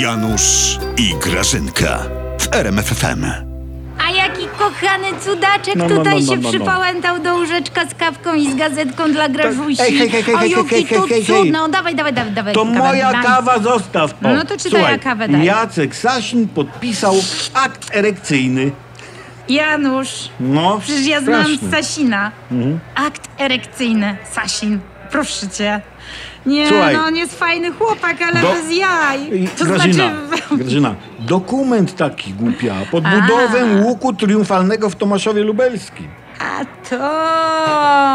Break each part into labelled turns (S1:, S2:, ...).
S1: Janusz i Grażynka w RMFFM.
S2: A jaki kochany cudaczek
S3: No, no,
S2: tutaj
S3: no, no,
S2: się
S3: no, no.
S2: przypałętał do łóżeczka z kawką i z gazetką dla Grażusi.
S3: Ej, hej, hej, hej, hej,
S2: Ojuki,
S3: hej, hej,
S2: tu,
S3: hej,
S2: cu-
S3: hej.
S2: No dawaj, dawaj, dawaj, dawaj.
S3: To
S2: kawę,
S3: moja
S2: dam.
S3: kawa zostaw. O,
S2: No to czytaj,
S3: słuchaj,
S2: ja kawę daję.
S3: Jacek Sasin podpisał akt erekcyjny.
S2: Janusz,
S3: No,
S2: przecież ja
S3: straszny.
S2: znam Sasina.
S3: Mhm.
S2: Akt erekcyjny, Sasin. Proszę cię. Nie,
S3: Słuchaj.
S2: no on jest fajny chłopak, ale
S3: Do-
S2: bez jaj.
S3: I-
S2: To
S3: Grażyna,
S2: znaczy...
S3: Grażyna, dokument taki głupia, pod budowę łuku triumfalnego w Tomaszowie Lubelskim.
S2: A to...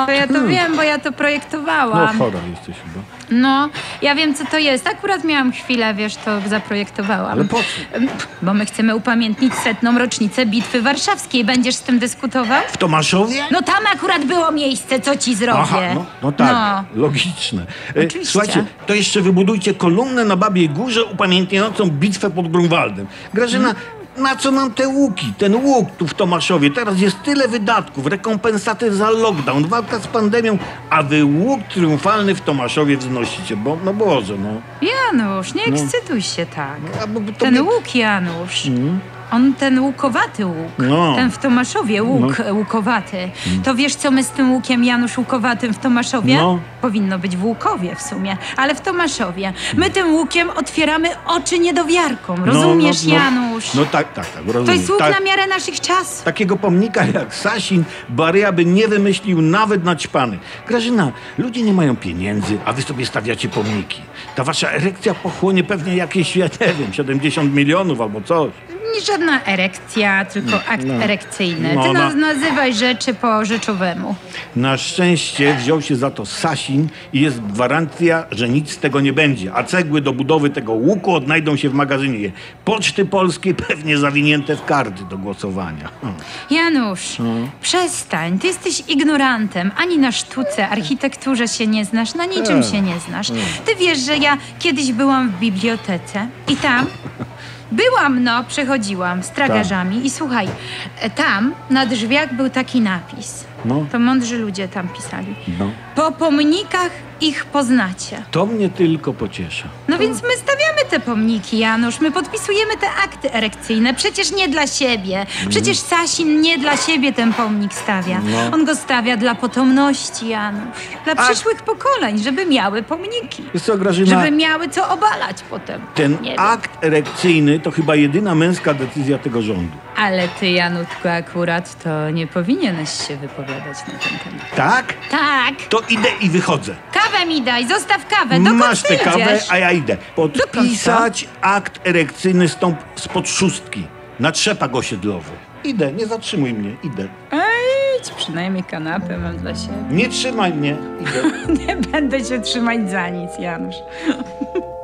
S2: to Ja to wiem, bo ja to projektowałam.
S3: Hmm. No chora jesteś chyba.
S2: No, ja wiem co to jest. Akurat miałam chwilę, wiesz, to zaprojektowałam.
S3: Ale po co?
S2: Em, Bo my chcemy upamiętnić setną rocznicę Bitwy Warszawskiej. Będziesz z tym dyskutował?
S3: W Tomaszowie?
S2: No tam akurat było miejsce, co ci zrobię.
S3: Aha, no, no tak, logiczne. E,
S2: Oczywiście.
S3: Słuchajcie, to jeszcze wybudujcie kolumnę na Babiej Górze upamiętniającą bitwę pod Grunwaldem. Grażyna, na co nam te łuki? Ten łuk tu w Tomaszowie. Teraz jest tyle wydatków, rekompensaty za lockdown, walka z pandemią, a wy łuk triumfalny w Tomaszowie wznosicie. Bo, no Boże, no.
S2: Janusz, nie ekscytuj się tak.
S3: A bo- bo No. to
S2: Ten
S3: by-
S2: łuk, Janusz. On ten łukowaty łuk,
S3: No. Mm.
S2: ten w Tomaszowie łuk e, łukowaty. To wiesz, co my z tym łukiem Janusz łukowatym w Tomaszowie?
S3: No.
S2: Powinno być w Łukowie w sumie, ale w Tomaszowie. My tym łukiem otwieramy oczy niedowiarkom,
S3: no,
S2: rozumiesz,
S3: no, no,
S2: Janusz?
S3: No tak, tak, tak, rozumiem.
S2: to jest łuk
S3: tak,
S2: na miarę naszych czasów.
S3: Takiego pomnika jak Sasin Baryja by nie wymyślił nawet naćpany. Grażyna, ludzie nie mają pieniędzy, a wy sobie stawiacie pomniki. Ta wasza erekcja pochłonie pewnie jakieś, ja nie wiem, 70 milionów albo coś.
S2: Nie żadna erekcja, tylko akt erekcyjny.
S3: No,
S2: Ty
S3: no.
S2: naz- nazywaj rzeczy po rzeczowemu.
S3: Na szczęście wziął się za to Sasin i jest gwarancja, że nic z tego nie będzie. A cegły do budowy tego łuku odnajdą się w magazynie. Poczty Polskiej pewnie zawinięte w karty do głosowania. Hmm.
S2: Janusz,
S3: No.
S2: przestań, ty jesteś ignorantem. Ani na sztuce, architekturze się nie znasz, na niczym
S3: Tak,
S2: się nie znasz. Ty wiesz, że ja kiedyś byłam w bibliotece i tam byłam, no, przechodziłam z
S3: Tak.
S2: tragarzami i słuchaj, e, tam na drzwiach był taki napis.
S3: No.
S2: To mądrzy ludzie tam pisali.
S3: No.
S2: Po pomnikach ich poznacie.
S3: To mnie tylko pociesza.
S2: No więc my stawiamy te pomniki, Janusz. My podpisujemy te akty erekcyjne. Przecież nie dla siebie. Przecież Sasin nie dla siebie ten pomnik stawia.
S3: No.
S2: On go stawia dla potomności, Janusz. Dla przyszłych pokoleń, żeby miały pomniki.
S3: Wiesz co, Grażyna?
S2: Żeby miały co obalać potem.
S3: Ten
S2: Nie wiem.
S3: akt erekcyjny to chyba jedyna męska decyzja tego rządu.
S2: Ale ty, Janutko, akurat to nie powinieneś się wypowiadać na ten temat.
S3: Tak?
S2: Tak,
S3: To idę i wychodzę.
S2: kawę mi daj, zostaw kawę, dokąd
S3: Masz
S2: ty
S3: tę kawę,
S2: idziesz?
S3: a ja idę. Podpisać akt erekcyjny stąp spod szóstki na trzepak osiedlowy. Idę, nie zatrzymuj mnie, idę.
S2: Ej, przynajmniej kanapę mam dla siebie.
S3: Nie trzymaj mnie, idę.
S2: Nie będę się trzymać za nic, Janusz.